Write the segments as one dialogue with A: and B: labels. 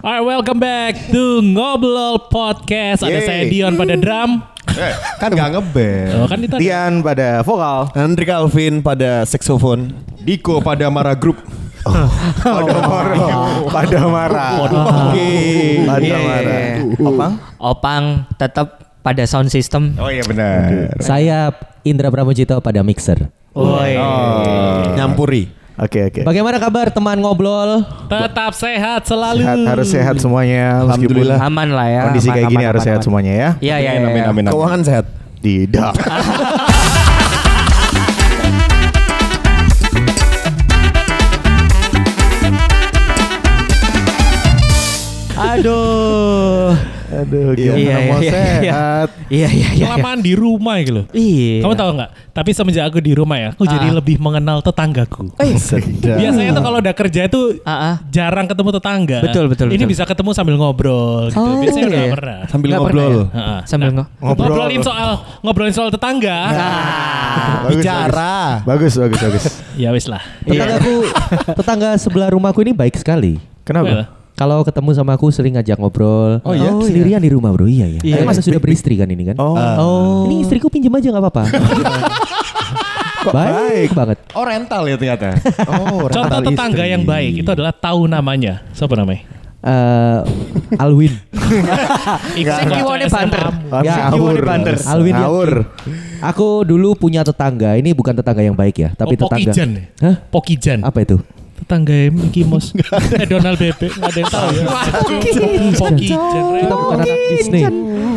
A: Alright, welcome back to Ngobrol Podcast. Ada
B: Yeay.
A: saya Dion pada drum.
C: Kan gak ngeband.
A: Oh, kan itu ada.
B: Dian pada vokal,
C: Andri Calvin pada saxophone.
B: Diko pada Mara Group. pada Mara. pada Mara.
C: Ah.
B: Oke. Pada
C: Iya.
B: Mara. Opang?
D: Opang tetap pada sound system.
B: Oh iya benar.
E: Saya Indra Pramujito pada mixer.
D: Woi.
C: Eh, Nyampuri.
B: Oke oke.
E: Bagaimana kabar teman ngobrol?
A: Tetap sehat selalu.
B: Sehat, harus sehat semuanya. meskipun
C: Alhamdulillah.
D: Aman lah ya.
B: Kondisi
D: aman,
B: kayak gini
D: aman,
B: harus
D: aman,
B: sehat
D: aman.
B: semuanya ya.
D: Iya iya. iya.
B: Amin amin. amin.
C: Keuangan sehat.
B: Tidak.
D: Aduh.
B: Aduh,
D: Iya,
B: gimana
D: iya,
B: mau
D: iya, iya.
B: sehat?
D: Iya iya iya.
A: Kelamaan di rumah gitu loh.
D: Iya.
A: Kamu tahu nggak? Tapi semenjak aku di rumah ya, aku jadi
D: Ah.
A: lebih mengenal tetanggaku.
B: Sedap.
A: Biasanya tuh kalau udah kerja itu
D: Ah, ah.
A: jarang ketemu tetangga.
D: Betul, betul,
A: Ini
D: betul.
A: bisa ketemu sambil ngobrol gitu.
D: Oh,
A: Biasanya
D: iya.
A: nggak pernah.
C: Sambil
D: Nggak pernah
C: ngobrol.
D: ya?
A: Heeh.
D: Sambil Nah,
A: Nah,
D: ngo-
B: ngobrol.
A: Ngobrolin soal ngobrolin soal tetangga.
B: Bagus,
C: Bicara.
B: Bagus bagus bagus.
A: Ya wis lah.
D: Iya.
E: Tetanggaku, tetangga sebelah rumahku ini baik sekali.
A: Kenapa?
E: Kalau ketemu sama aku sering ngajak ngobrol.
C: Oh, iya?
E: sendirian di rumah bro. Iya ya.
D: Iya. Ah.
E: Tapi masa sudah beristri kan ini kan?
B: Oh.
E: Oh. Ini istriku pinjem aja nggak apa-apa.
B: Kok
E: baik banget.
C: Oh rental ya ternyata. Oh
A: Contoh tetangga yang baik itu adalah tahu namanya. Siapa namanya?
E: Eh, Alwin.
A: Iksan
D: Saya kiwone
A: SMA.
D: banter.
B: Ya,
C: Jiwa di
B: ngawur.
C: bandar.
E: Alwin Yakin.
B: Ngawur.
E: Aku dulu punya tetangga. Ini bukan tetangga yang baik ya, tapi
A: Oh,
E: tetangga.
A: Pokijan ya?
E: Hah?
A: Pokijan.
E: Apa itu?
A: Tetangga Mickey Mouse. eh, Donald Bebek. Nggak ada yang tahu ya. Pokijan.
E: Kita bukan anak Disney.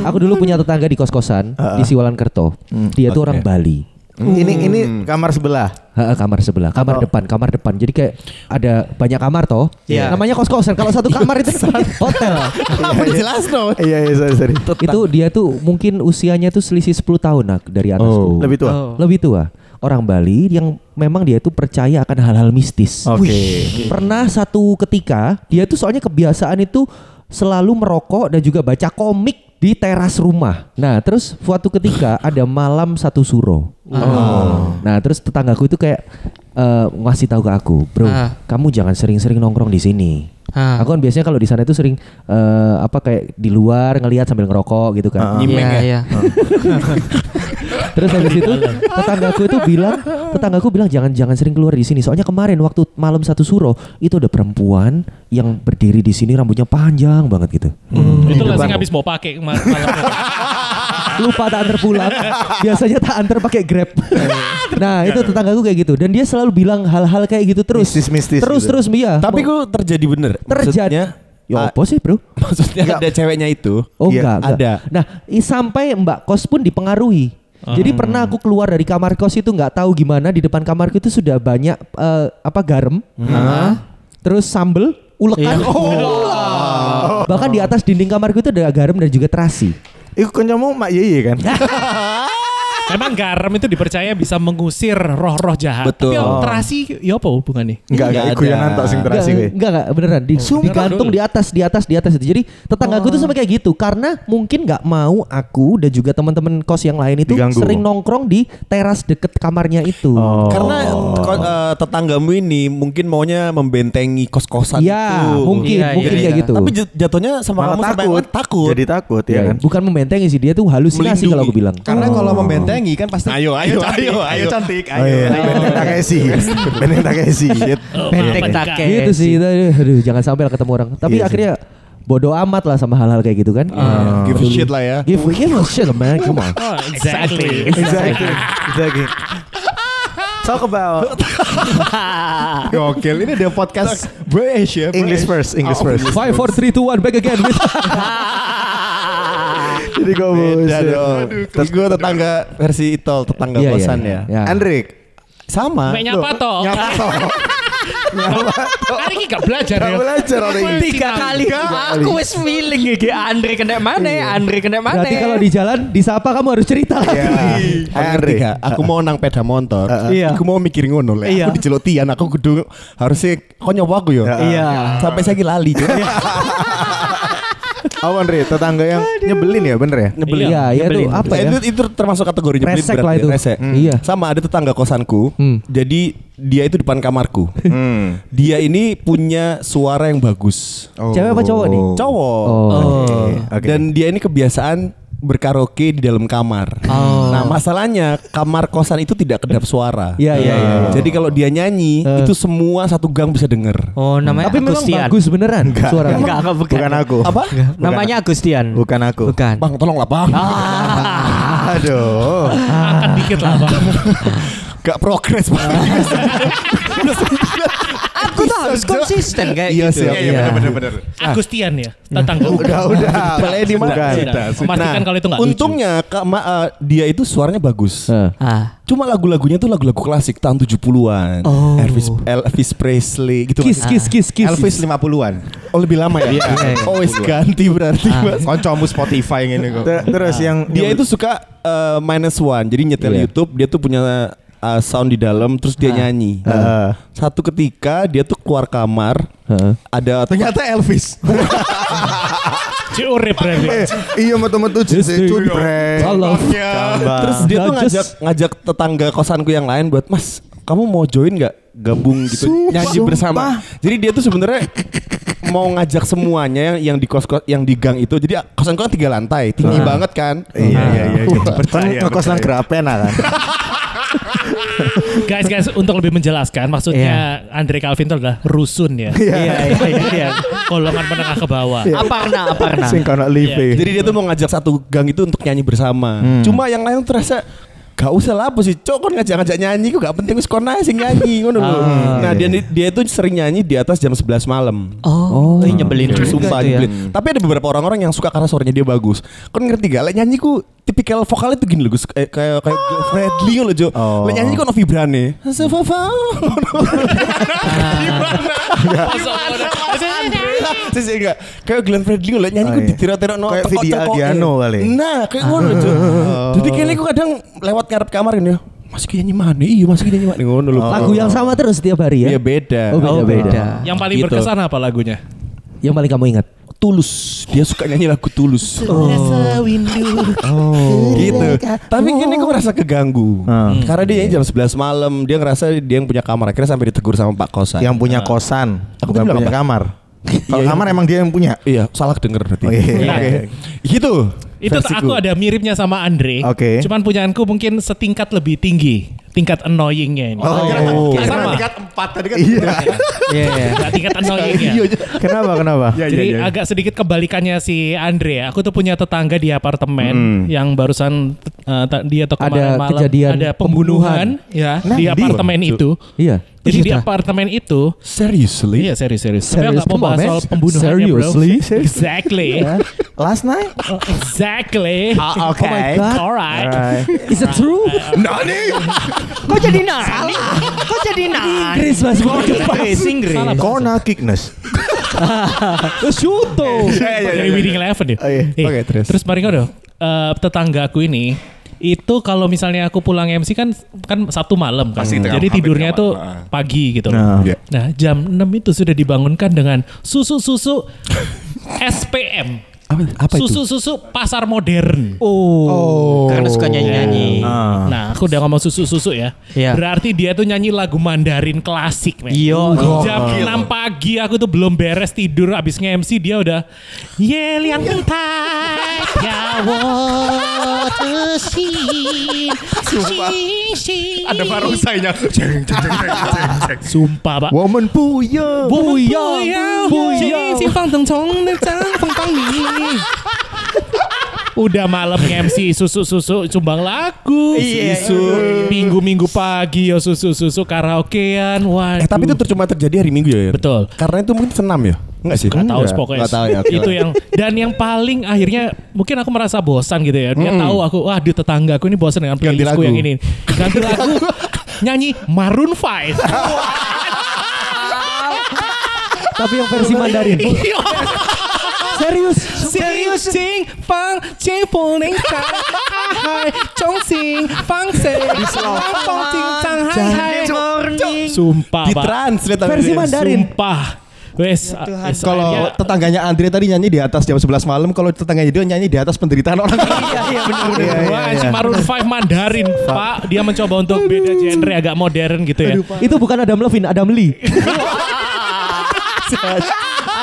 E: Aku dulu punya tetangga di kos-kosan di Siwalan Kerto.
D: Hmm.
E: Dia tuh orang Bali.
B: Ini ini kamar sebelah.
E: Ha, kamar sebelah,
D: Oh.
E: kamar depan, kamar depan. Jadi kayak ada banyak kamar toh.
D: Iya.
E: Namanya kos-kosan. Kalau satu kamar itu hotel.
C: Apa dijelas no?
B: Iya iya sorry sorry.
E: itu dia tuh mungkin usianya tuh selisih 10 tahun Nak, dari atasku.
B: Lebih tua.
D: Oh.
E: Lebih tua. Orang Bali yang memang dia tuh percaya akan hal-hal mistis.
B: Oke.
E: Wih. Pernah satu ketika dia tuh soalnya kebiasaan itu selalu merokok dan juga baca komik di teras rumah. Nah, terus suatu ketika ada malam satu suro.
D: Oh.
E: Nah, terus tetanggaku itu kayak eh, ngasih tahu ke aku, "Bro,
D: Ah.
E: kamu jangan sering-sering nongkrong di sini."
D: Ah.
E: Aku kan biasanya kalau di sana itu sering eh, apa kayak di luar ngelihat sambil ngerokok gitu kan.
D: Iya iya.
E: Terus habis itu tetanggaku itu bilang, tetanggaku bilang jangan jangan sering keluar di sini. Soalnya kemarin waktu malam satu suro itu ada perempuan yang berdiri di sini rambutnya panjang banget gitu.
A: Itu langsung habis mau pakai kemarin malam.
E: Lupa tak antar pulang. Biasanya tak antar pakai Grab. nah, itu tetanggaku kayak gitu dan dia selalu bilang hal-hal kayak gitu terus.
B: Mistis-mistis
E: Terus
B: gitu.
E: terus iya.
C: Tapi
E: Mau-
C: gue terjadi bener. Maksudnya,
E: terjadi Ya
C: ah,
E: apa sih, Bro?
C: maksudnya ada ceweknya itu.
E: Oh
B: Iya,
E: enggak, enggak.
C: ada.
E: Nah, i- sampai Mbak Kos pun dipengaruhi.
B: Ah.
E: Jadi pernah aku keluar dari kamar kos itu nggak tahu gimana di depan kamarku itu sudah banyak eh, apa garam.
B: Hmm.
E: Nah,
B: Ah.
E: Terus sambel, ulekan.
B: Iya. Ah.
E: Ulah. Bahkan di atas dinding kamarku itu ada garam dan juga terasi.
B: Iku kencamu Mak Yeye kan?
A: Emang garam itu dipercaya bisa mengusir roh-roh jahat.
C: Betul.
A: Tapi yang terasi ya apa hubungannya?
B: Enggak enggak
C: Nggak
B: iku yang
C: ada.
B: nantok sing terasi
E: Nggak,
B: kowe.
E: Nggak, nggak, beneran di, digantung di atas, di atas, di atas itu. Jadi tetanggaku
B: Oh.
E: tuh sampai kayak gitu karena mungkin nggak mau aku dan juga teman-teman kos yang lain itu
B: Diganggu. Oh.
E: sering nongkrong di teras deket kamarnya itu.
C: Karena ko- eh, tetanggamu ini mungkin maunya membentengi kos-kosan itu.
E: Iya, mungkin,
D: Iya, iya,
E: mungkin
D: iya.
E: kayak gitu.
C: Nah, Tapi jat- jatuhnya sama
B: Malah
C: kamu sampai
B: takut.
C: takut.
B: Jadi takut ya
E: Ya,
B: kan?
E: bukan membentengi sih dia tuh halusinasi
C: Melindungi.
E: kalau aku bilang.
F: Karena kalau membentengi kan pasti
C: Ayo, ayo, ayo, ayo.
F: cantik,
B: Oh, iya. Benteng Takeshi. Benteng Takeshi. Shit.
D: Benteng
A: Iya.
D: take.
E: gitu sih, aduh, aduh, jangan sampai lah ketemu orang. Tapi akhirnya bodoh amat lah sama hal-hal kayak gitu kan.
C: Give a shit lah ya.
E: Give, give a shit man, come on.
A: Oh, exactly.
B: Exactly. Exactly. Talk about
F: Gokil, ini ada podcast British ya.
B: English first, English
C: Oh,
B: first.
E: Five, four, three, two, one, back again.
B: Jadi gue
C: Beda dong. Terus gue tetangga versi Itol, tetangga
E: Iya, iya,
C: kosan
E: iya.
C: ya.
E: Ya.
B: Andrik.
C: Sama.
A: Mek nyapa toh. Nyapa toh.
D: Kan
A: Hari ini gak belajar ya.
B: Gak belajar hari ini.
D: Tiga kali. Aku
B: Ya.
D: wis feeling iki Andre kena
A: Iya,
D: mana? Andre kena mana?
E: Berarti kalau di jalan disapa kamu harus cerita.
B: Ya.
E: Iya.
B: Hai Andrik.
C: Ketiga, aku mau nang peda motor.
D: Iya.
C: Aku mau mikir ngono lah.
D: Iya.
C: Aku dicelotian, aku kudu harusnya kok nyoba aku ya.
D: Iya.
C: Sampai saya lali. Cuk.
B: Awan Re, Oh, tetangga yang nyebelin ya bener ya?
C: Nyebelin.
E: Iya, iya
A: nyebelin.
E: tuh apa
C: Eh,
E: ya?
C: itu, itu termasuk kategori nyebelin
E: Resek
C: berarti
E: lah
C: ya,
E: itu.
C: resek.
E: Hmm. Iya.
C: Sama ada tetangga kosanku.
E: Hmm.
C: Jadi dia itu depan kamarku.
B: Hmm.
C: dia ini punya suara yang bagus.
E: Cewek apa cowok nih?
C: Cowok.
E: Oh.
B: Oh. Oke.
C: Dan dia ini kebiasaan berkaraoke di dalam kamar.
E: Oh.
C: Nah, masalahnya kamar kosan itu tidak kedap suara. Hmm.
E: Iya, iya, iya, iya.
C: Jadi kalau dia nyanyi,
E: Eh.
C: itu semua satu gang bisa denger.
D: Oh namanya
E: Tapi memang
D: Agustian.
E: bagus beneran suaranya.
D: Enggak, enggak, bukan.
B: Bukan aku.
C: Apa?
E: Iya.
D: Namanya Agustian.
B: Bukan aku.
D: Bukan.
C: Bang, tolonglah, Bang.
E: Ah.
B: Aduh.
A: Akan dikit lah bang.
C: Gak progres, Bang.
D: Aku tuh harus konsisten kayak
B: Iya sih.
D: gitu.
B: Iya,
E: Iya.
B: bener-bener.
A: Agustian ya, tetangga.
B: Udah, udah.
C: Balai di mana? Nah,
B: Bukan.
A: Sudah. Memastikan kalau itu nggak lucu.
C: Untungnya kama- eh, dia itu suaranya bagus.
E: Eh.
D: Ah.
C: Cuma lagu-lagunya tuh lagu-lagu klasik tahun 70-an.
D: Oh.
C: Elvis, Elvis Presley gitu.
E: Kiss, kiss, kiss, kiss.
B: Elvis 50-an.
C: Oh lebih lama ya?
D: Iya,
C: oh wis ganti berarti
D: Ah.
C: Mas.
F: Koncomu Spotify ngene kok.
B: Ter- Terus yang
C: Dia itu suka eh, minus one Jadi nyetel
E: Iya.
C: Youtube Dia tuh punya eh, sound di dalam Terus dia nyanyi
B: Heeh.
C: Satu ketika dia tuh keluar kamar
E: Heeh.
C: Ada
B: Ah. ternyata Elvis.
A: Ciure berarti.
B: iya metu-metu
E: Yes,
B: cucu
E: iya. Salah.
C: Terus dia tuh
E: Judges.
C: ngajak ngajak tetangga kosanku yang lain buat Mas kamu mau join nggak gabung gitu nyanyi bersama. Jadi dia tuh sebenarnya mau ngajak semuanya yang, yang di kos yang di gang itu. Jadi kosanku kan tiga lantai, tinggi banget kan.
B: Iya iya iya. iya.
F: Percaya,
B: Kan kekosan Grapena kan.
A: Guys, guys, untuk lebih menjelaskan, maksudnya Andre Calvin itu adalah rusun ya.
D: Iya, iya, iya, iya.
A: Golongan menengah ke bawah.
D: Aparna, Aparna.
B: Sing kono
D: Iya.
B: live.
C: Jadi dia tuh mau ngajak satu gang itu untuk nyanyi bersama.
D: Hmm.
C: Cuma yang lain tuh terasa Gak usah lah apa sih Cok kan ngajak-ngajak nyanyi Kok gak penting Wis kon aja sing nyanyi ngono
D: Ah,
C: lho. Nah dia, dia tuh sering nyanyi Di atas jam 11 malam
D: iya, Oh, ini nyebelin juga
C: Sumpah
D: itu ya.
C: nyebelin. Tapi ada beberapa orang-orang yang suka karena suaranya dia bagus. Kan ngerti gak? Lek nyanyi ku tipikal vokalnya tuh gini loh, Gus. Kayak kayak kayak
D: Ah.
C: Fredly loh, Jo.
D: Oh.
C: Lek nyanyi ku ono vibrane. Sefafa. Sih sih enggak. Kayak Glenn Fredly lek nyanyi ku
B: Oh, iya.
C: ditira-tira ono
B: Kayak
C: teko-
B: Vidi
C: teko-
B: Aldiano kali.
C: ya?
B: Oh.
C: Nah, kayak ngono, Jo. Jadi kayaknya ku kadang lewat ngarep kamar ini. "Oh, Mas ki nyanyi mana? Iya, Mas ki nyanyi mana? Ngono
B: Oh.
C: lho.
E: Lagu yang sama terus tiap hari ya.
C: Iya beda.
E: Oh, beda, beda.
A: Yang paling
C: Gitu.
A: berkesan apa lagunya?
E: Yang paling kamu ingat.
C: Tulus. Dia suka nyanyi lagu Tulus.
D: Iya,
C: gitu.
B: Oh.
C: Tapi gini gue ngerasa keganggu.
B: Ah.
C: Hmm. Karena dia
B: Iya.
C: jam 11 malam, dia ngerasa dia yang punya kamar. Akhirnya sampai ditegur sama Pak Kosan.
B: Yang punya kosan,
C: iya. Aku
B: bukan
C: bilang
B: punya
C: apa?
B: kamar. Kalau
C: Iya,
B: kamar emang dia yang punya.
C: Iya, salah kedenger berarti.
B: Oh, iya.
C: Oke. Gitu.
A: Itu
C: versiku.
A: aku ada miripnya sama Andre.
B: Oke.
A: Cuman punyaanku mungkin setingkat lebih tinggi. Tingkat annoyingnya ini.
B: Oh.
A: Kira-kira sama. tingkat
F: 4 tadi kan.
D: Iya, iya.
A: Nggak, tingkat annoyingnya.
B: iya, Kenapa kenapa?
A: Jadi agak sedikit kebalikannya si Andre ya. Aku tuh punya tetangga di apartemen yang barusan eh, ta- dia atau
E: Ada
A: kemarin malam
E: kejadian
A: ada pembunuhan, ya di
B: Nanti.
A: apartemen itu.
E: Iya.
A: Jadi di
E: Iya.
A: apartemen itu
C: Seriously?
A: Iya serius serius. Tapi
E: Serius
A: nggak mau
E: banget,
A: bahas
E: men.
A: soal pembunuhannya
E: Seriously?
A: bro. Exactly.
B: Last night.
A: exactly.
B: Ah.
E: Oh my god.
A: Alright.
E: Is it true?
B: Nani?
D: Kok jadi nah? Kok jadi nah?
E: Inggris mas mau
D: Inggris, Inggris.
A: Salah, Bang.
B: Kona kickness.
E: Shuto.
A: Dari Winning Eleven ya.
B: Oh, iya.
A: Eh,
B: Oke, terus.
A: Terus mari dong. eh, tetangga aku ini itu kalau misalnya aku pulang MC kan kan Sabtu malam kan.
F: Pasti tengah-
A: Jadi
F: hampir
A: tidurnya
F: tengah
A: tuh
F: malam.
A: pagi gitu.
B: Nah.
A: Nah, jam 6 itu sudah dibangunkan dengan susu-susu SPM.
C: Apa itu?
A: Susu-susu pasar modern.
D: Oh. Karena suka nyanyi-nyanyi.
A: Nah, aku udah ngomong susu-susu ya.
D: Iya.
A: Berarti dia tuh nyanyi lagu Mandarin klasik, men.
D: Iya.
A: Jam 6 Oh, pagi aku tuh belum beres tidur abis nge-MC dia udah Ye liang tai ya wo tu xin xin xin."
F: Ada barongsainya. Ceng, ceng, ceng, ceng, ceng, ceng.
A: Sumpah, Pak.
B: Woman puya.
A: 不要不要，星星放等从那张放放你。Udah malam MC susu-susu sumbang lagu. Susu. Minggu-minggu pagi ya susu-susu karaokean. Waduh.
C: Eh, tapi itu cuma terjadi hari Minggu ya. Yan?
A: Hmm. Betul.
C: Karena itu mungkin senam ya? Enggak sih.
A: Gak tahu sih pokoknya.
C: Enggak tahu ya. oke.
A: itu yang dan yang paling akhirnya mungkin aku merasa bosan gitu ya. Dia tahu aku wah di tetangga aku ini bosan dengan
C: Ganti
A: playlistku
C: lagu.
A: yang ini. Ganti lagu nyanyi Maroon 5.
E: Tapi yang versi Mandarin. Serius.
A: Serius sing fang cing puning sang hai chong sing fang se fang fong cing sang hai hai
D: Morning.
A: sumpah
C: Di
A: pak
C: translate
E: Versi Mandarin.
A: sumpah Wes, wes,
F: Kalau
A: soalnya-
F: tetangganya Andre tadi nyanyi di atas jam 11 malam, kalau tetangganya dia nyanyi di atas penderitaan orang. Iya,
A: Wah, anjing iya. Maroon 5 Mandarin, Pak. Dia mencoba untuk beda genre agak modern gitu ya.
E: Itu bukan Adam Levine, Adam Lee.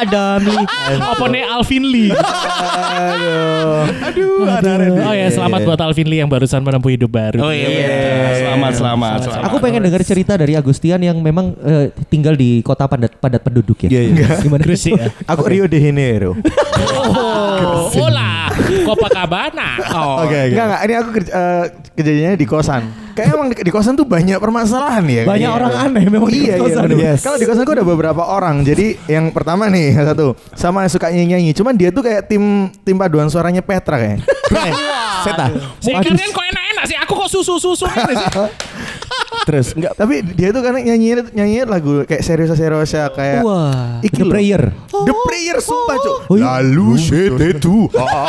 D: Adam Lee.
A: Apa nih Alvin Lee?
B: Aduh, Iya. ada Randy.
A: Oh ya, selamat buat Alvin Lee yang barusan menempuh hidup baru.
D: Oh iya.
B: Selamat, selamat, selamat.
E: Aku pengen dengar cerita dari Agustian yang memang eh, tinggal di kota padat padat penduduk ya.
B: Iya, iya.
E: Gimana?
A: Gresik ya.
B: Aku Rio de Janeiro.
A: Oh, hola, Copacabana.
C: Oh,
F: Oh.
B: Oke, Enggak, enggak. Ini aku kerja, eh, kejadiannya di kosan. Kayaknya emang di, di kosan tuh banyak permasalahan ya.
E: Banyak
B: kayaknya.
E: orang aneh memang di
B: iya,
E: kosan.
B: Iya, bener.
E: Yes.
B: Kalau di kosan gue ada beberapa orang. Jadi yang pertama nih yang satu sama yang suka nyanyi-nyanyi. Cuman dia tuh kayak tim tim paduan suaranya Petra kayaknya.
C: Seta.
A: Saya kirain kok enak-enak sih. Aku kok susu-susu ini sih.
C: Terus enggak
B: Tapi dia tuh karena nyanyiin nyanyiin lagu kayak serius serius kayak
E: Wah,
B: Iki
E: The
B: loh.
E: Prayer.
B: The Prayer sumpah cuk.
E: Oh, iya.
B: Lalu sete tu.
C: Oh,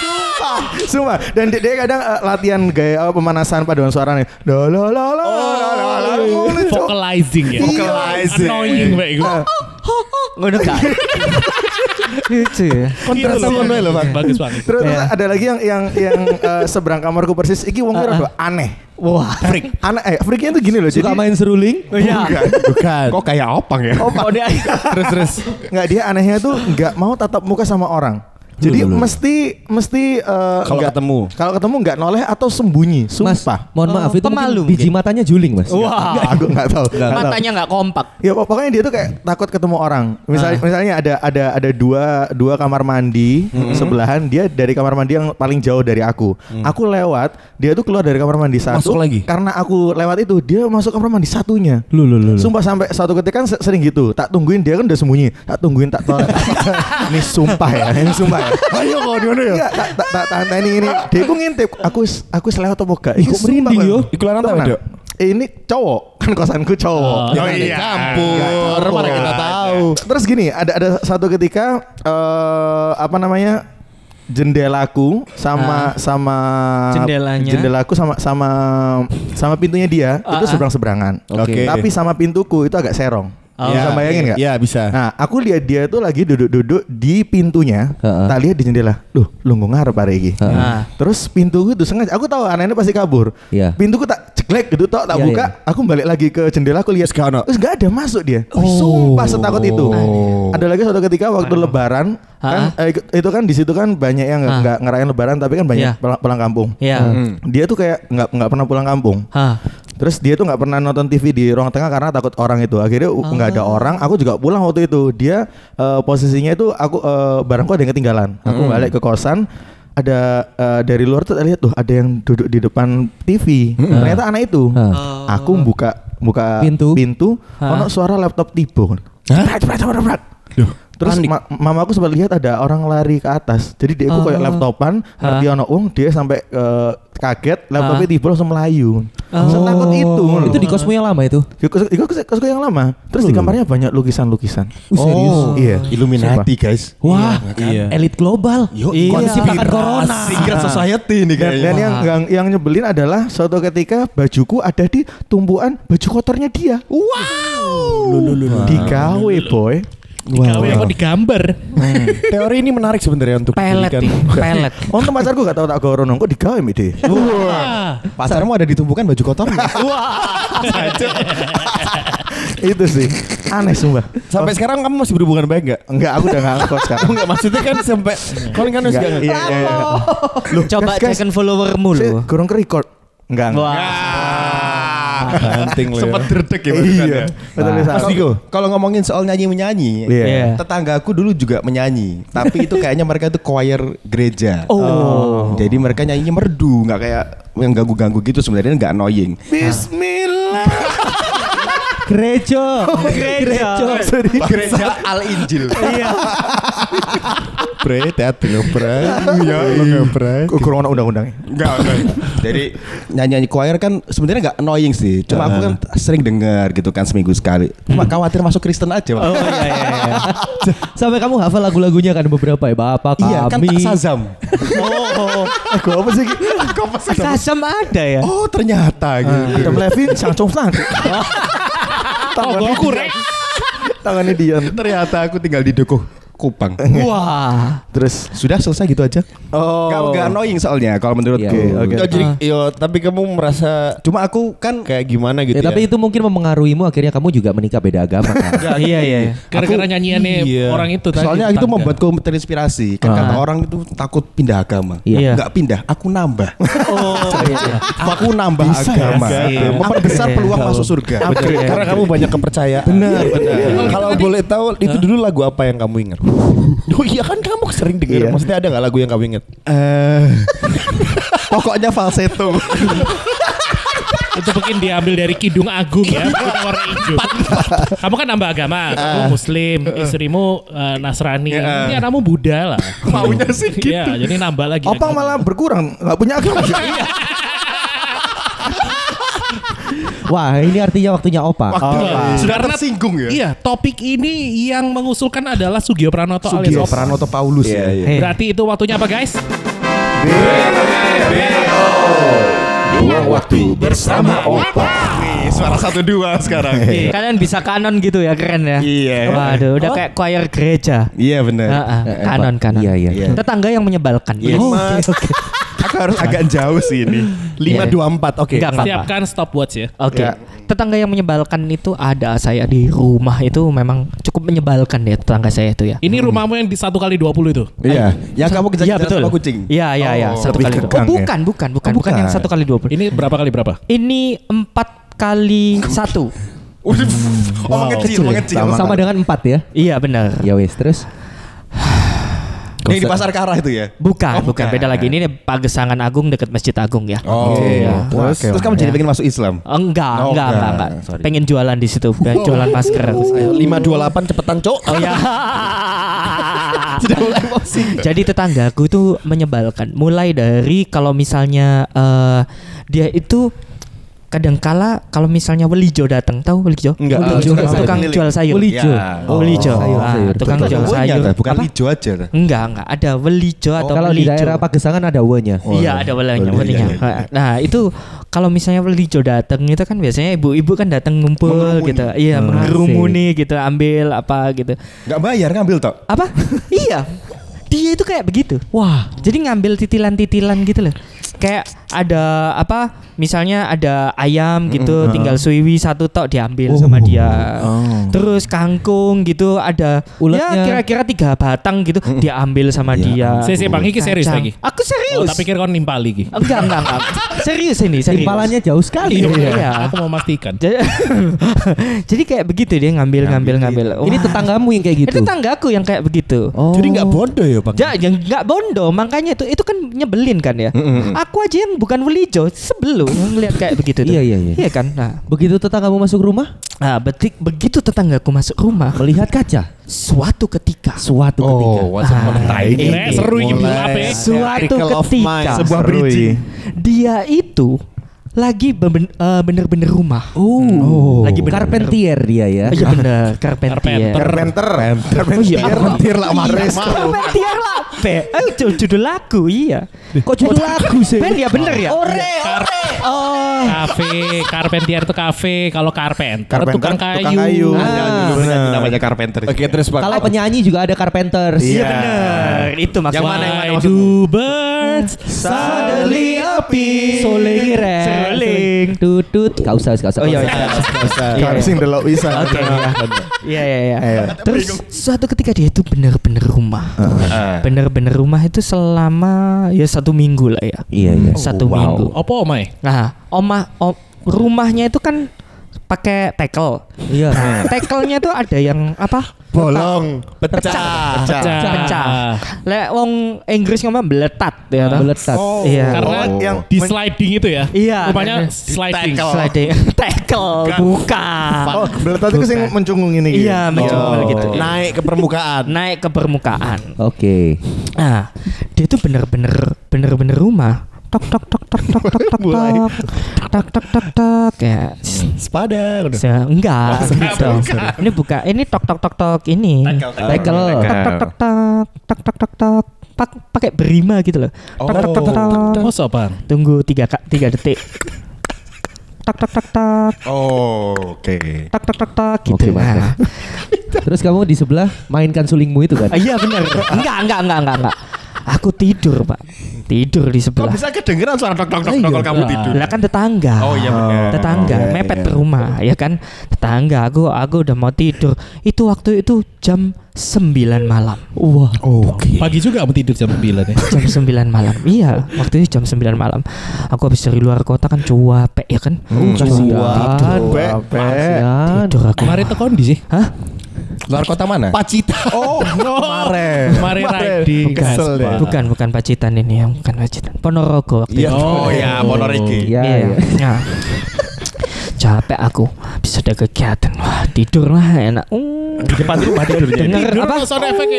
B: Sumpah, sumpah. Dan dia, dia kadang eh, latihan gaya apa, pemanasan paduan suaranya. La la la la la la la.
A: Oh,
B: Mulu, Cuk.
A: Vocalizing ya.
B: Vocalizing. Iya.
A: Annoying baik gue.
D: Ngono gak?
E: Lucu ya.
A: Kontrasnya
B: ngono ya, Bang.
A: Iya, Bagus banget.
B: Terus terus ada lagi yang yang yang eh, seberang kamarku persis. Iki wong kira aneh.
E: Wah,
B: Freak. Aneh. Eh, freaknya tuh gini loh. jadi
E: suka main seruling?
D: Iya.
B: Bukan.
C: bukan. Oh,
F: Kok kayak opang ya?
B: Opa.
C: terus terus.
B: Nggak dia anehnya tuh nggak mau tatap muka sama orang. Jadi mesti mesti eh,
C: Kalau
B: nggak-
C: ketemu.
B: kalau ketemu nggak noleh atau sembunyi.
E: Mas,
B: Sumpah.
E: mohon maaf itu mungkin
D: Oh, pemalu Oh.
E: biji matanya juling, Mas.
D: Wah.
B: Nggak, aku nggak tahu. Nggak tahu.
D: Matanya nggak kompak.
B: Ya pok- pokoknya dia tuh kayak takut ketemu orang. Misalnya
E: Ah.
B: misalnya ada ada ada dua dua kamar mandi sebelahan dia dari kamar mandi yang paling jauh dari aku.
E: Mm.
B: Aku lewat, dia tuh keluar dari kamar mandi satu.
C: Masuk lagi?
B: Karena aku lewat itu dia masuk kamar mandi satunya.
E: Lu lu lu. lu.
B: Sumpah sampai suatu ketika kan se- sering gitu. Tak tungguin dia kan udah sembunyi. Tak tungguin tak tolak. ini sumpah ya, ini sumpah ya. Ayo kok di mana
C: Iya.
B: ya?
E: Iya.
B: Enggak, tak tak tak tahan ini ini. Dia ku ngintip. Aku is- aku is lewat apa enggak? Iku
E: Iya, merinding, yo.
C: Iku lanang tak wedok?
B: Eh, Ini cowok kan kosanku
E: Ah.
B: cowok.
C: Oh iya. Campur. Mana kita tahu.
B: Terus gini, ada ada satu ketika eh apa namanya? jendelaku sama sama
D: Jendelanya.
B: jendelaku sama sama sama pintunya dia
D: Ah,
B: itu
D: ah.
B: seberang-seberangan.
C: Oke. Oh.
B: Tapi sama pintuku itu agak serong. bisa bayangin nggak?
C: Iya, bisa.
B: Nah, aku lihat dia tuh lagi duduk-duduk di pintunya.
E: Heeh.
B: Tak lihat di jendela. Duh, lu ngarep hari ini.
D: Heeh.
B: Terus pintuku itu sengaja aku tahu anaknya pasti kabur.
E: Iya.
B: Pintuku tak ceklek gitu tok, tak
E: Iya,
B: buka, aku balik lagi ke jendela aku
C: Terus
B: lihat
C: nggak ada.
B: Terus nggak ada masuk dia. Sumpah setakut itu. Ada lagi suatu ketika waktu lebaran kan eh, itu kan di situ kan banyak yang nggak
D: Ah.
B: nggak ngerayain lebaran tapi kan banyak
D: Iya.
B: pulang, pulang kampung.
D: Ya.
B: Dia tuh kayak nggak nggak pernah pulang kampung.
D: Hah.
B: Terus dia tuh nggak pernah nonton TV di ruang tengah karena takut orang itu. Akhirnya u- nggak ada orang. Aku juga pulang waktu itu. Dia eh, posisinya itu aku eh, barangku ada yang ketinggalan. Aku balik ke kosan. Ada eh, dari luar tuh lihat tuh ada yang duduk di depan TV. Ternyata anak itu. Aku buka buka
E: Pintu.
B: ono suara laptop tiba. Cepret, cepret, cepret, cepret. Terus ma- mamaku sempat lihat ada orang lari ke atas. Jadi dia aku
E: Oh.
B: kayak laptopan,
E: Ah.
B: ngerti ono wong dia sampai eh, kaget, laptopnya tiba langsung melayu. Setakut itu.
E: Oh, Ah. Itu di kosmu yang lama itu.
B: Iku iku aku aku yang lama. Terus di kamarnya banyak lukisan-lukisan.
E: Oh, serius?
B: Iya.
C: Illuminati, guys.
E: Wah,
C: Iya.
E: kan? elit global.
C: iya.
E: Konsep corona.
C: Secret society nih
B: Dan, dan yang, yang yang nyebelin adalah suatu ketika bajuku ada di tumpuan baju kotornya dia. Wow. Digawe boy.
A: Digawe apa digambar?
C: Teori ini menarik sebenarnya untuk
D: Pelet,
C: dijadikan-
D: Dik. pelet.
B: Untung pacarku gak tau tak gawe rono kok digawe mi deh.
A: Ah.
F: Pacarmu ada ditumpukan baju kotor nggak?
B: Itu sih. Aneh sumpah.
C: Sampai sekarang kamu masih berhubungan baik nggak?
B: Enggak, aku udah gak ngekos sekarang.
C: Enggak maksudnya kan sampai Colin kan harus
B: Enggak,
C: gak
B: iya, iya, iya. Loh,
D: Coba
B: guys, guys,
D: check-in followermu
B: saya
D: lu.
B: Gorong ke record. Enggak, enggak.
C: Ah. Hunting lo ya.
F: derdek
B: Iya. Betul bisa.
F: Mas Diko, kalau ngomongin soal nyanyi-menyanyi,
B: Iya.
D: Iya.
F: tetangga aku dulu juga menyanyi, tapi itu kayaknya mereka itu choir gereja.
D: Oh.
F: Ya. Jadi mereka nyanyinya merdu, nggak kayak yang ganggu-ganggu gitu sebenarnya nggak annoying.
B: Bismillah.
E: Gereja.
D: Gereja.
B: Sorry.
F: Gereja Al Injil.
C: Bre, hati lo bre.
F: Iya,
C: Ya lo bre.
B: Kurang anak undang-undangnya.
F: Enggak, Jadi nyanyi-nyanyi choir kan sebenarnya nggak annoying sih. Cuma aku kan sering dengar gitu kan seminggu sekali. Cuma khawatir masuk Kristen aja, Pak.
E: iya, Sampai kamu hafal lagu-lagunya kan beberapa ya, Bapak kami.
F: Iya, kan tak sazam.
B: Oh, eh, gua apa sih? Gua apa sih?
D: Sasam ada ya.
F: Oh,
C: Ah.
F: ternyata gitu.
B: Tom Levin, Sang Chong Sang.
A: Oh, gue kurek.
B: tangannya Dian
F: Ternyata aku tinggal di Dukuh Kupang.
E: Wah.
B: terus
F: Sudah selesai gitu aja.
B: Oh.
F: Gak, gak annoying soalnya kalau menurutku.
B: Oke, oke.
C: Oh, jadi, yo, tapi kamu merasa
F: Cuma aku kan
C: kayak gimana gitu
E: Ya,
C: ya?
E: tapi itu mungkin mempengaruhimu akhirnya kamu juga menikah beda agama kan.
D: Iya, iya, iya.
A: Gara-gara nyanyiannya
C: iya.
A: orang itu tadi.
F: Soalnya itu
A: tetangga.
F: membuatku terinspirasi. Kan kata orang itu takut pindah agama.
E: Iya.
F: Nggak pindah, aku nambah. Oh, iya, aku nambah agama.
D: Iya.
F: Memperbesar peluang masuk surga.
C: Betul, karena kamu banyak kepercayaan. Iya.
F: Iya,
C: Benar, benar. Kalau boleh tahu itu dulu lagu apa yang kamu ingat? Oh iya kan kamu sering denger.
B: Iya.
C: Maksudnya ada nggak lagu yang kamu ingat?
F: Eh, pokoknya falsetto.
A: Itu mungkin diambil dari Kidung Agung ya, bukan warna hijau. Kamu kan nambah agama, kamu muslim, istrimu eh, Nasrani. Ini anakmu Buddha lah. Maunya sih gitu. Iya, jadi nambah lagi. kan.
B: opang
A: agama.
B: malah berkurang nggak punya agama
E: Wah, ini artinya waktunya opa. Oh,
F: Sudah tersinggung ya.
A: Iya, topik ini yang mengusulkan adalah Sugio Pranoto alias
F: Sugio
A: Opang.
F: Pranoto Paulus ya.
B: Iya,
E: Hei.
A: Berarti itu waktunya apa guys?
F: Nih, suara satu dua sekarang.
D: Kalian bisa kanon gitu ya, keren ya.
F: Iya.
D: Waduh, udah kayak choir gereja.
F: Iya benar.
D: Heeh, kanon kanon.
E: Iya, iya.
D: Tetangga yang menyebalkan. Oh,
F: Iya. Aku harus agak jauh sih ini.
C: Lima dua empat. Oke.
D: Iya. Enggak apa-apa.
A: Siapkan stopwatch ya.
D: Oke. Tetangga yang menyebalkan itu ada saya di rumah itu memang cukup menyebalkan ya tetangga saya itu ya.
A: Ini rumahmu yang di satu kali 20 itu.
F: Iya. Yang kamu kejar
D: Iya
F: kejar sama kucing.
D: Iya iya iya
F: Oh,
D: satu
F: lebih
D: kali.
F: kegang
D: Oh,
F: ya?
D: bukan, bukan bukan bukan yang satu kali 20.
A: Ini berapa kali berapa?
D: Ini empat kali satu.
F: Udah, Oh, mengecil, mengecil.
E: Sama dengan empat ya.
D: Iya benar.
E: Ya wes terus.
F: Yang di pasar Karah itu ya.
D: Bukan,
F: Oh,
D: bukan beda lagi. Ini Pagesangan Agung dekat Masjid Agung ya.
F: Oh, ya. terus, terus kamu jadi pengen masuk Islam.
D: Enggak,
F: Oh,
D: enggak, enggak,
F: enggak. Oh.
D: enggak. Pengen jualan di situ, pengen jualan masker.
C: Lima dua delapan cepetan cok.
D: Oh ya.
F: Sudah mulai emosi.
D: Jadi tetanggaku itu menyebalkan. Mulai dari kalau misalnya eh, dia itu kadangkala kalau misalnya Welijo datang, tahu Welijo?
C: Enggak,
D: Welijo,
F: enggak tahu.
D: tukang
F: Keliling.
D: jual sayur.
F: Welijo.
D: Oh, Welijo.
E: sayur,
D: Ah,
E: sayur.
D: tukang
F: Itu
D: jual
F: ada
D: sayur.
F: wonya, kan? bukan
D: Apa?
F: lijo aja. kan?
D: Enggak, enggak. Ada Welijo atau
E: Oh, Kalau di
D: Welijo.
E: daerah Pagesangan ada W-nya.
D: Iya ada welenya,
F: Iya,
D: welenya.
F: iya, iya.
D: Nah itu kalau misalnya Welijo datang itu kan biasanya ibu-ibu kan datang ngumpul
F: Mengerumuni. Ah, iya.
D: gitu, iya
E: Hmm.
D: mengerumuni gitu, ambil apa gitu.
F: Enggak bayar ngambil tok.
D: Apa? iya. Dia itu kayak begitu. Wah. Jadi ngambil titilan-titilan gitu loh. Kayak ada apa? Misalnya ada ayam gitu, tinggal suiwi satu tok
F: Oh.
D: diambil sama dia. Terus kangkung gitu, ada
E: Uletnya.
D: ya kira-kira tiga batang gitu diambil sama
F: Iya,
D: dia.
A: Saya saya Bang iki serius
D: Kacang.
A: lagi.
D: Aku serius.
A: Oh, tak pikir kon nimpal iki.
D: Enggak, enggak, enggak. Serius ini, serius.
E: Timpalannya jauh sekali.
D: Iya. Iya.
A: Aku mau memastikan.
D: Jadi, jadi kayak begitu dia ngambil, ngambil, ngambil.
E: Ini
D: Wah,
E: tetanggamu yang kayak
D: itu
E: gitu.
D: tetanggaku yang kayak begitu.
E: Oh.
C: Jadi nggak bodoh ya pak?
D: Ja, yang nggak bondo, makanya itu itu kan nyebelin kan ya. Aku aja yang bukan welijo sebelum ngeliat kayak begitu. tuh.
E: Iya, iya, iya.
D: kan. Nah,
E: Begitu tetanggamu masuk rumah,
D: nah betik begitu tetanggaku masuk rumah,
E: melihat kaca.
D: suatu ketika, Ah,
E: Suatu
D: Oh,
E: ketika.
C: what's up
A: Ini seru iki apa ya?
D: suatu
C: Article of mind.
D: ketika
F: Sebuah
B: Seru
F: bridging.
B: ini.
D: dia itu lagi beben- eh, bener-bener rumah.
E: Oh. Lagi
D: Lagi bener-bener.
E: Carpentier dia ya.
D: Iya bener, Carpentier.
A: Carpenter.
B: Carpenter
D: Iya.
F: Carpenter lah Mares.
D: Carpentier lah. Be, eh ju- judul lagu iya.
E: Kok judul lagu sih?
D: Ben ya bener ya.
E: Ore.
A: Kar-
E: Oh.
A: Kafe, Carpentier itu kafe, kalau carpenter,
B: Carpenter,
A: tukang kayu.
F: Ah,
B: tukang
F: iya,
B: kayu.
F: Ada dulu benar. namanya Carpenter.
C: Oke terus pak.
E: Kalau penyanyi juga ada Carpenters.
F: Iya.
D: Bener, itu maksudnya.
A: Yang mana yang mana do birds
E: Suddenly appear. Soling Ren.
D: Soling.
E: Tutut. Gak usah, gak usah.
D: Oh, iya,
E: gak usah.
B: Gak sing delok bisa.
D: Iya iya iya.
B: Ayo.
D: Terus suatu ketika dia itu bener-bener rumah.
E: Ah.
D: Bener-bener rumah itu selama ya satu minggu lah ya.
E: Iya, iya.
D: Satu minggu.
A: Apa omai?
D: Nah, omah om, rumahnya itu kan pakai tekel. Nah,
E: Iya.
D: Tekelnya tuh ada yang apa?
C: bolong pecah.
D: Pecah.
A: Pecah.
D: Pecah. Lek wong Inggris ngomong meletat ya toh.
E: Meletat.
D: Iya.
A: Karena
B: Oh.
A: yang di sliding itu ya.
D: Iya.
A: Rumahnya
D: Di
A: sliding.
D: Sliding. Tekel bukan.
B: Oh, belet itu sing mencunggung ini. gitu.
D: Iya, mencoba gitu. Nah,
C: Naik ke permukaan.
D: naik ke permukaan.
E: Oke.
D: Nah, dia tuh bener-bener bener-bener rumah. Tok tok tok tok tok tok tok tok. Tok tok tok tok ya.
C: Sepada. udah.
D: Se- enggak gitu. Ini buka ini tok tok tok tok ini.
E: Tekel.
D: Tok tok tok tok tok tok tok tok. Pak- pakai berima gitu loh. Tok tok tok tok.
A: Masa, Bang?
D: Tunggu tiga ka- tiga detik. Tok tak tak tak tak
F: Oh, oke.
D: tak tak tak tak
E: Oke,
D: gitu.
E: mantap.
D: Nah.
E: Terus kamu di sebelah mainkan sulingmu itu kan?
D: Ah, Iya benar. Enggak enggak enggak enggak enggak. Aku tidur pak, tidur di sebelah.
F: Bisa kedengeran suara tok tok tok tok kalau kamu tidur.
D: Lah kan tetangga.
F: Nah. Oh, iya benar.
D: Tetangga
F: Oh, iya,
D: mepet
F: iya.
D: ke rumah ya kan. Tetangga aku aku udah mau tidur. Itu waktu itu jam 9 malam. Wah.
A: Pagi juga kamu tidur jam 9 ya.
D: Jam 9 malam. Iya, waktu itu jam 9 malam. Aku habis dari luar kota kan cuape ya kan.
E: Hmm.
F: Hmm.
E: Kasihan. Kasihan.
D: Tidur aku.
A: Kemarin tuh kondisi.
D: Hah?
F: Luar kota mana? Pacita. Oh, no.
B: Eh,
F: Mare.
A: Kemarin riding.
F: Kesel deh.
D: Bukan bukan Pacitan ini yang bukan Pacitan. Ponorogo waktu
F: Iya. Oh, ya, Ponorogo.
E: Iya, iya.
D: Nah, capek aku. Bisa ada kegiatan. Wah, tidur lah enak. Mm,
F: Di depan rumah tidurnya.
D: Dengar apa?
A: Sound effect ya.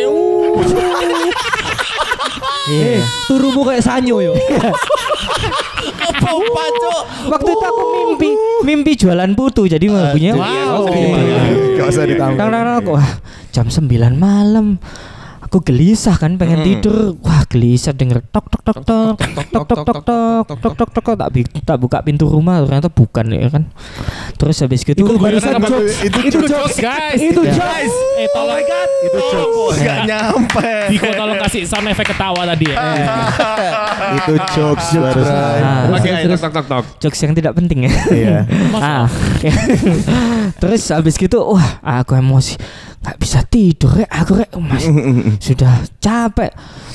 D: Iya.
E: Turumu Eh, kayak sanyo yo.
D: Waktu itu aku mimpi, mimpi jualan putu. Jadi lagunya
A: wow.
D: oke.
F: Gak usah ditambah.
D: Tang tang tang aku, wah, jam 9 malam. Aku gelisah kan pengen tidur. Wah, gelisah denger tok tok tok tok tok tok tok tok tok tok tok tok tak bi- tak buka pintu rumah ternyata bukan ya kan. Terus habis gitu
A: Barusan jokes.
F: Itu
A: Itu jokes guys.
E: Itu
A: Iya.
E: jokes.
A: Eh tolong god. Itu jokes.
F: Gak nyampe.
A: Diko tolong kasih sound effect ketawa tadi ya.
B: Itu jokes barusan.
D: Nah,
E: Terus,
F: Oke,
E: terus,
F: ayo,
E: terus.
F: tok tok tok.
D: jokes yang tidak penting ya.
B: Iya.
D: ah, ya. terus habis gitu, wah, aku emosi, nggak bisa tidur rek, aku rek, oh, mas, sudah capek,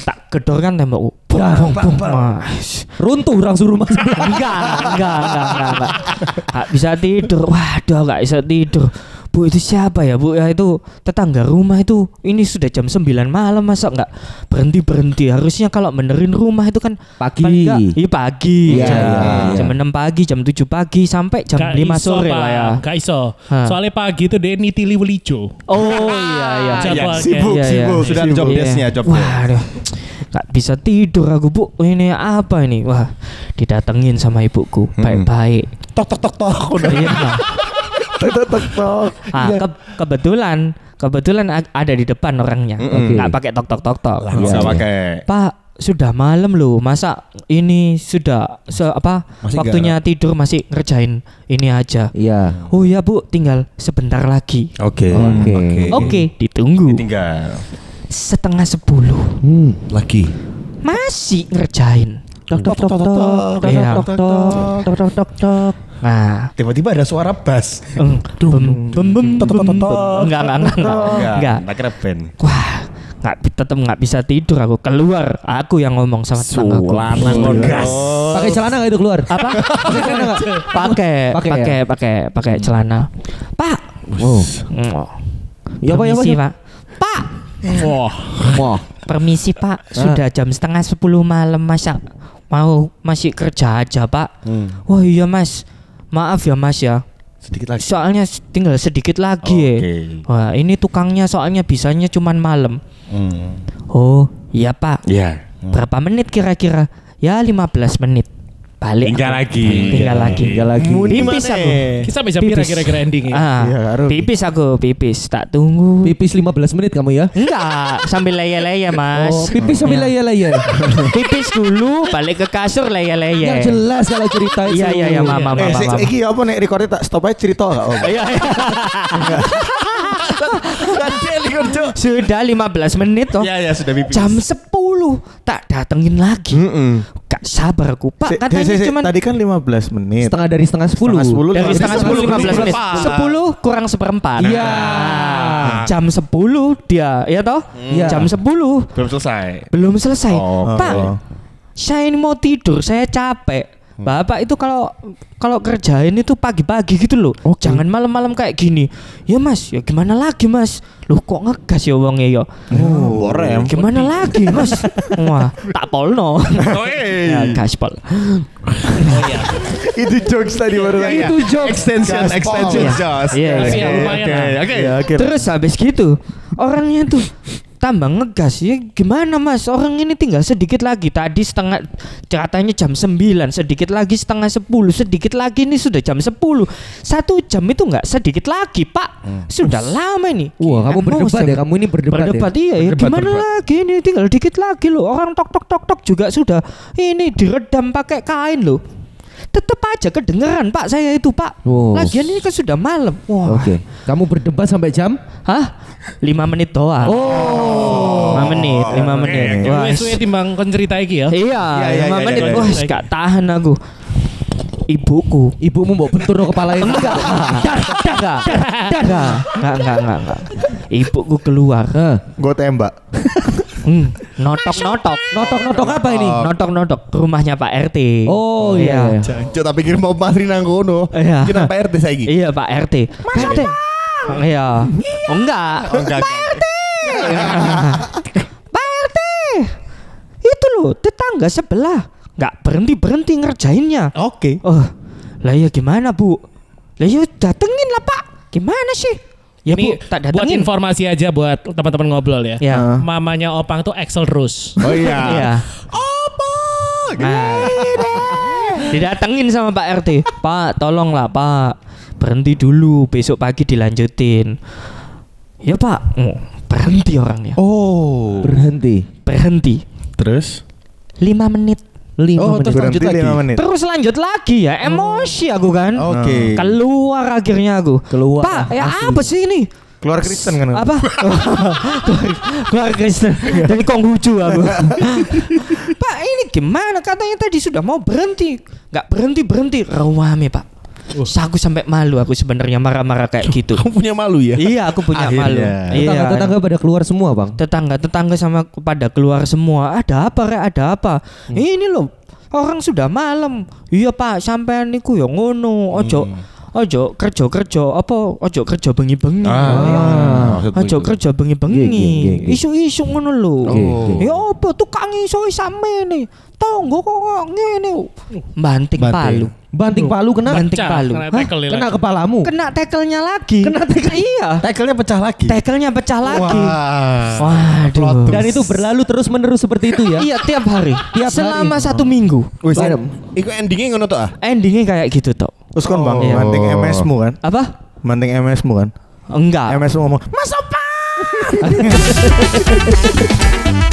D: tak gedorkan tembok, bong bong bong, mas,
E: Runtuh langsung rumah sebelah.
D: enggak, enggak, enggak, enggak, enggak, Nggak bisa tidur, waduh, nggak bisa tidur. Bu itu siapa ya bu ya itu tetangga rumah itu ini sudah jam 9 malam masa nggak berhenti berhenti harusnya kalau benerin rumah itu kan
E: Pagi.
D: paling nggak- iya pagi
E: Iya,
D: jam,
E: iya,
D: jam 6 pagi jam 7 pagi sampai jam
A: Gak
D: 5
A: iso,
D: sore
A: Pak.
D: lah ya
A: Gak iso.
D: Hah.
A: Soalnya pagi itu dia niti liwelijo.
D: Oh iya
A: Ah,
D: iya.
A: Jadwalnya.
F: Sibuk,
D: Iya, iya.
F: sibuk. Sudah ada job
D: Iya.
F: desk-nya, job desk.
D: Wah, aduh. Gak bisa tidur aku bu Ini apa ini Wah Didatengin sama ibuku Baik-baik
F: Hmm. Tok tok tok tok. Udah.
D: Iya ah, ke- Kebetulan Kebetulan a- ada di depan orangnya
F: Hmm.
E: Mm-mm.
D: Gak pakai tok tok tok tok
F: Bisa
E: Iya.
F: pakai.
D: Pak sudah malam loh Masa ini sudah se- apa
F: Masih
D: Waktunya tidur masih ngerjain Ini aja
E: Iya.
D: Oh iya bu tinggal sebentar lagi
F: Oke.
E: Oke.
D: Oke
F: Uh.
D: ditunggu
F: Tinggal.
D: Setengah sepuluh
E: Hmm.
F: Lagi.
D: masih ngerjain.
E: Tok tok tok tok tok
D: Iya.
E: tok tok tok tok tok tok.
D: Nah,
F: Tiba-tiba ada suara bass.
D: eng, bem bem bem bem, bem, bem. enggak enggak enggak enggak. Oh, enggak.
F: Tak kira band.
D: Wah, enggak tetap enggak bisa tidur aku keluar. Aku yang ngomong sama tetangga aku.
F: gas.
E: Pakai celana nggak itu keluar?
D: Apa? pakai
E: Pakai ya?
D: pakai pakai pakai celana. Pak.
E: Wow.
D: Oh.
E: Ya apa ya apa?
D: Permisi,
E: ya?
D: Pak. Pak.
A: Wah.
E: Wah.
D: Permisi
E: Ah.
D: Pak, sudah jam setengah sepuluh malam masa mau masih kerja aja Pak.
E: Hmm.
D: Wah iya Mas, maaf ya Mas ya.
F: Sedikit lagi.
D: Soalnya s- tinggal sedikit lagi. ya.
F: Oke.
D: Wah ini tukangnya soalnya bisanya cuman malam.
F: Hmm.
D: Oh iya Pak.
F: Ya.
D: Berapa menit kira-kira? Ya 15 menit. Balik.
F: Tinggal
D: aku.
F: lagi.
D: Tinggal lagi.
E: Tinggal lagi.
D: Pipis aku.
A: Kita bisa kira kira-kira ya? endingnya.
D: Ah,
B: Iya, harus.
D: pipis aku, pipis. Tak tunggu.
E: Pipis 15 menit kamu ya?
D: Enggak, sambil leye-leye Mas.
E: Oh, pipis sambil
D: Iya.
E: layar-layar.
D: pipis dulu balik ke kasur
E: Yang
D: leye-leye
E: jelas kalau cerita itu.
D: iya iya iya mama
B: Eh,
D: mama
B: sik,
D: mama
B: iki apa nek recordnya tak stop aja cerita gak om?
D: Iya, iya. sudah 15 menit toh
F: Ya ya sudah pipis.
D: jam 10 tak datengin lagi
F: Mm-mm.
D: gak sabar aku pak
B: Sik,
D: katanya
B: sik, sik,
D: cuman
B: tadi kan 15 menit.
E: Setengah dari setengah 10.
B: Setengah sepuluh,
D: dari
B: lima
D: setengah
B: belas
D: 10
B: menit.
D: 15 menit
F: Seperempat.
D: 10 kurang seperempat
E: Iya.
D: Nah, jam 10 dia ya toh
E: Iya.
D: jam 10
F: Belum selesai.
D: belum selesai
F: Oh,
D: pak
B: oh.
D: saya ini mau tidur saya capek Bapak itu kalau kalau kerjain itu pagi-pagi gitu loh. Jangan malam-malam kayak gini. Ya Mas, ya gimana lagi Mas? Loh kok ngegas ya wonge ya.
B: Oh, rem.
D: Gimana lagi Mas? Wah, tak polno. ya, gaspol.
B: Itu jokes tadi baru
F: Ya, ya.
B: Itu
F: extension
B: Gaspol.
F: extension
D: Iya.
F: just.
D: Iya,
F: Oke,
A: iya. Lumayan
F: Oke.
A: lah.
F: Oke.
B: Ya, akhir.
D: Terus habis gitu orangnya tuh tambah ngegas ya gimana mas orang ini tinggal sedikit lagi tadi setengah katanya jam 9 sedikit lagi setengah 10 sedikit lagi ini sudah jam 10 satu jam itu nggak sedikit lagi pak sudah lama ini
E: Hmm. Wah, kamu
D: Emosi
E: berdebat
D: aku.
E: ya, kamu ini berdebat,
D: berdebat
E: ya.
D: iya ya
F: Berdebat,
D: gimana
F: berdebat.
D: lagi ini tinggal dikit lagi loh orang tok tok tok tok juga sudah ini diredam pakai kain loh tetep aja kedengeran pak saya itu pak.
E: Oh.
D: Lagian ini kan sudah malam. Wah.
E: Oke. Kamu berdebat sampai jam?
D: Hah? 5 menit doang. Oh. 5 menit, 5 menit. Wah.
A: Ya, Wes wes timbang kon cerita iki ya.
D: Iya,
F: iya,
D: 5
F: iya,
D: menit.
A: iya, iya.
D: Wah, gak tahan aku. Ibuku.
E: Ibumu mau bentur no kepala ini enggak?
D: Dar, dar, dar, dar. Enggak, enggak, enggak, enggak. Ibuku keluar.
E: Hah.
B: Gue tembak.
D: Hmm, notok, notok.
E: Notok-notok apa ini?
D: Notok, notok. Ke rumahnya Pak RT.
E: Oh iya.
F: Cuk, tak pikir mau pasri nang kono.
D: Iya.
F: Kita Pak RT saiki.
D: Iya Pak RT. Mas RT. Iya. Oh, enggak.
F: Enggak.
D: Pak RT. Itu loh tetangga sebelah. Enggak berhenti berhenti ngerjainnya.
F: Oke.
D: Oh. Lah ya gimana Bu? Lah ya datengin lah Pak. Gimana sih? Ya
A: Ini
D: Bu, tak
A: buat
D: datengin.
A: informasi aja buat teman-teman ngobrol ya.
D: Ya.
F: Ah.
A: Mamanya Opang tuh Excel terus.
F: Oh
D: Iya.
F: iya.
D: Nah. Didatengin sama Pak RT. Pak, tolonglah Pak. Berhenti dulu, besok pagi dilanjutin. Ya Pak, Oh, berhenti orangnya.
F: Oh.
E: Berhenti.
D: Berhenti.
F: Terus?
D: 5 menit.
F: Oh,
E: Lima menit.
F: terus lanjut
B: Berhenti
F: lagi.
B: 5 menit.
D: Terus lanjut lagi ya, emosi aku kan.
B: Ah.
F: Oke.
D: Keluar akhirnya aku.
E: Keluar,
D: Pak, ya apa sih ini?
B: Keluar Kristen kan.
D: Apa? Keluar- keluar Kristen dari Konghucu aku. Pak, ini gimana? Katanya tadi sudah mau berhenti. Nggak berhenti-berhenti. Rewame, Pak. Aku sampai malu aku sebenarnya marah-marah kayak gitu.
F: Kamu punya malu ya?
D: iya, aku punya
F: Akhirnya.
D: malu. Iya.
E: Tetangga-tetangga pada keluar semua bang.
D: tetangga-tetangga sama pada keluar semua. Ada apa, Rek? Ada apa? Ini loh, orang sudah malam. Iya, Pak, sampean niku ya ngono. Ojo ojo kerja-kerja apa ojo kerja bengi-bengi.
E: Ah.
D: Iya.
F: maksudku
D: Ojo
F: itu. Iya,
D: kerja
E: Nggih, nggih, nggih,
D: Ah, bengi-bengi.
E: nggih.
D: Isu-isu ngono lho.
F: Oh.
E: Nggih, nggih.
D: Ya apa tukang iso samene. Tonggo kok ngene. Banting palu.
E: Banting palu kena.
D: Banting palu.
A: Kena
E: Hah?
A: tackle
E: Kena
A: lagi.
E: kepalamu.
D: Kena tekelnya lagi. Kena tekel. Iya.
F: Tackle-nya pecah lagi.
D: Tekelnya pecah lagi.
F: Wah.
D: Waduh.
E: Dan itu berlalu terus menerus seperti itu ya.
D: Iya tiap hari.
E: Tiap
D: Selama
E: hari.
D: satu minggu.
F: Wis.
E: Barem.
F: Iku endingnya ngono to ah?
D: Endingnya kayak gitu toh.
B: Terus kan bang,
D: Iya.
B: manting MS-mu kan.
D: Apa?
B: Manting MS-mu kan.
D: Ah. Enggak.
B: MS-mu ngomong,